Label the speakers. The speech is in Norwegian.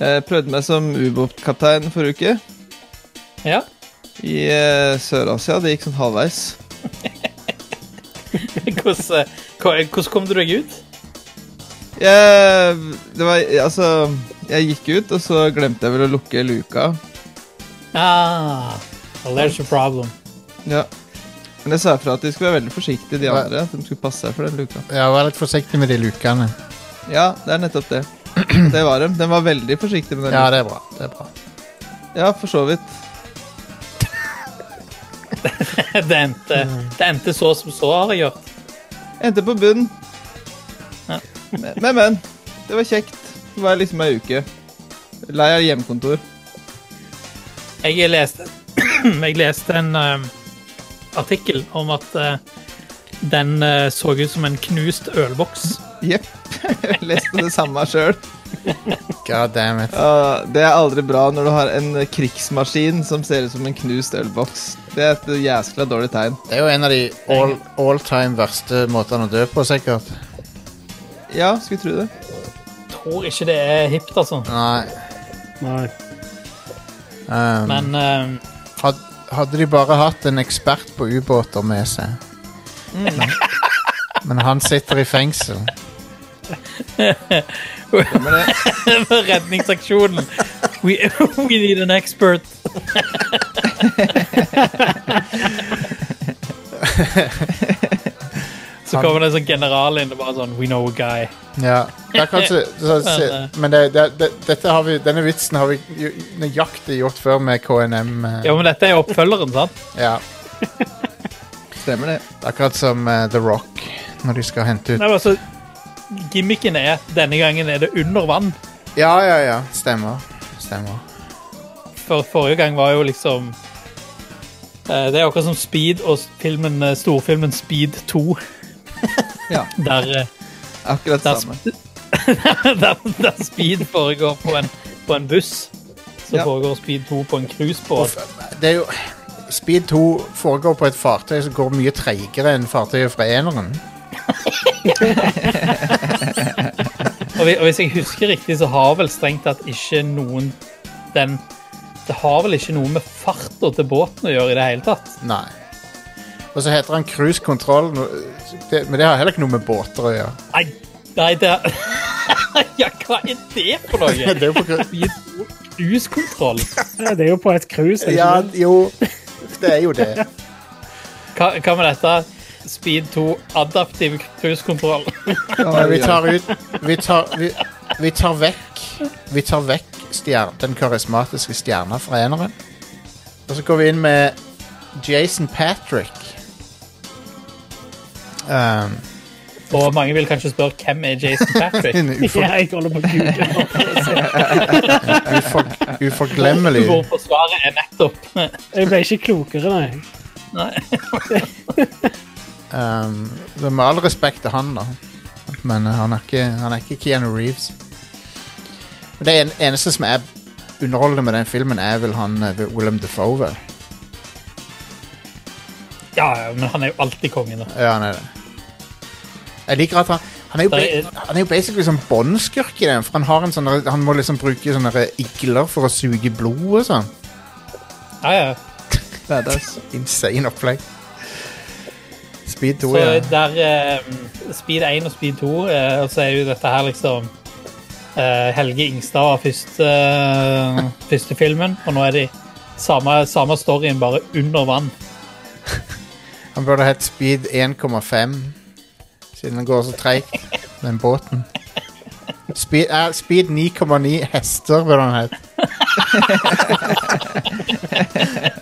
Speaker 1: Jeg Eh, prøvde meg som ubåtkaptein forrige uke
Speaker 2: Ja,
Speaker 1: i eh, Sør-Asia. Det gikk sånn halvveis.
Speaker 2: hvordan, eh, hva- hvordan kom du deg ut?
Speaker 1: Jeg, det var, altså, jeg gikk ut, og så glemte jeg vel å lukke luka.
Speaker 2: Ah, well, there's a problem.
Speaker 1: Ja. Men jeg sa ifra at de skulle være veldig forsiktige, de andre. At de skulle passe seg for den luka.
Speaker 3: Ja, vær litt forsiktig med de lukene.
Speaker 1: Ja, det er nettopp det. Det var dem. Den var veldig forsiktig med den.
Speaker 3: Ja,
Speaker 1: luka.
Speaker 3: det er bra. Det er bra.
Speaker 1: ja for så vidt.
Speaker 2: Det endte, det endte så som så, har jeg gjort.
Speaker 1: Endte på bunnen.
Speaker 2: Ja.
Speaker 1: Men, men, men. Det var kjekt. Det var liksom ei uke. Lei av hjemmekontor.
Speaker 2: Jeg leste, jeg leste en eh, artikkel om at eh, den eh, så ut som en knust ølboks.
Speaker 1: Jepp. Jeg leste det samme sjøl.
Speaker 3: God damn it.
Speaker 1: Ja, Eh, det er aldri bra når du har en krigsmaskin som ser ut som en knust ølboks. Det er et jæskla dårlig tegn.
Speaker 3: Det er jo en av de all, all time verste måtene å dø på, sikkert.
Speaker 1: Ja, skulle tro det.
Speaker 2: Tror ikke det er hipt, altså.
Speaker 3: Nei.
Speaker 4: Nei.
Speaker 3: ehm,
Speaker 2: Men eh,
Speaker 3: had, hadde de bare hatt en ekspert på ubåter med seg
Speaker 2: Mm.
Speaker 3: Men han sitter i fengsel.
Speaker 1: Men det,
Speaker 2: redningsaksjonen we, we need an expert. Så kommer det en sånn general inn og bare sånn We know a guy.
Speaker 3: Ja. Det er kanskje, så,
Speaker 2: Men, eh.
Speaker 3: så, men det, det, det, dette har vi, denne vitsen har vi jo- nøyaktig gjort før med KNM. eh,
Speaker 2: Ja, men dette er jo oppfølgeren, sant?
Speaker 3: Ja.
Speaker 1: stemmer, det.
Speaker 3: Det er akkurat som eh, The Rock, når de skal hente ut
Speaker 2: Nei, men altså Gimmicken er at denne gangen er det under vann.
Speaker 3: Ja, ja, ja. Stemmer. Stemmer.
Speaker 2: For forrige gang var jo liksom eh, Det er akkurat som Speed og filmen, eh, storfilmen Speed 2,
Speaker 1: Ja,
Speaker 2: der eh,
Speaker 1: akkurat
Speaker 2: Der,
Speaker 1: samme.
Speaker 2: der, der speed foregår på en, på en buss. Så
Speaker 1: Ja.
Speaker 2: foregår speed 2 på en cruisebåt.
Speaker 3: Det er jo Speed 2 foregår på et fartøy som går mye treigere enn fartøyet fra eneren.
Speaker 2: Og, vi- og hvis jeg husker riktig, så har vel strengt tatt ikke noen den Det har vel ikke noe med farta til båten å gjøre i det hele tatt.
Speaker 3: Nei. Og så heter han Cruise Control, no- det- men det har heller ikke noe med båter å gjøre.
Speaker 2: Nei, nei det er Ja, hva er det for noe?
Speaker 3: Det er jo på grunn-
Speaker 2: Speed 2 Cruisekontroll?
Speaker 4: Ja, det er jo på et cruise. er det
Speaker 3: ja,
Speaker 4: ikke det?
Speaker 3: jo Det er jo det.
Speaker 2: Hva, hva med dette? Speed 2 adaptiv cruisekontroll.
Speaker 3: Men vi tar ut Vi tar, vi, vi tar vekk Vi tar vekk stjer, den karismatiske stjerna fra eneren. Og så går vi inn med Jason Patrick. Um,
Speaker 2: Og mange vil kanskje spørre hvem er Jason Patrick?
Speaker 3: en ufor,
Speaker 4: Ja, jeg holder på å google. nå.
Speaker 3: ufor, uforglemmelig
Speaker 2: Hvor forsvaret er nettopp
Speaker 4: Jeg ble ikke klokere, nei.
Speaker 2: Nei.
Speaker 3: Um, så med all respekt til han, da. Men eh, han, er ikke, han er ikke Keanu Reeves. Men det en, eneste som er underholdende med den filmen, er vel han eh, Willem Defoe. vel?
Speaker 2: Ja, ja, men han er jo alltid kongen. da.
Speaker 3: Ja, han er det. Jeg liker at han han er, jo,
Speaker 2: Det er-
Speaker 3: ba- han er jo basically som båndskurk i den, for han, har en sånn, der- han må liksom bruke sånne der igler for å suge blod og sånn.
Speaker 2: Ja, ja.
Speaker 1: Badass.
Speaker 3: Insane opplegg. Speed 2,
Speaker 2: Så
Speaker 3: ja.
Speaker 2: der eh, Speed 1 og Speed 2, eh, og så er jo dette her liksom eh, Helge Ingstad var første, eh, første filmen, og nå er de samme, samme storyen, bare under vann.
Speaker 3: Han burde hett Speed 1,5 Siden den går så treigt Den båten Speed, eh, speed 9,9 hester burde han hett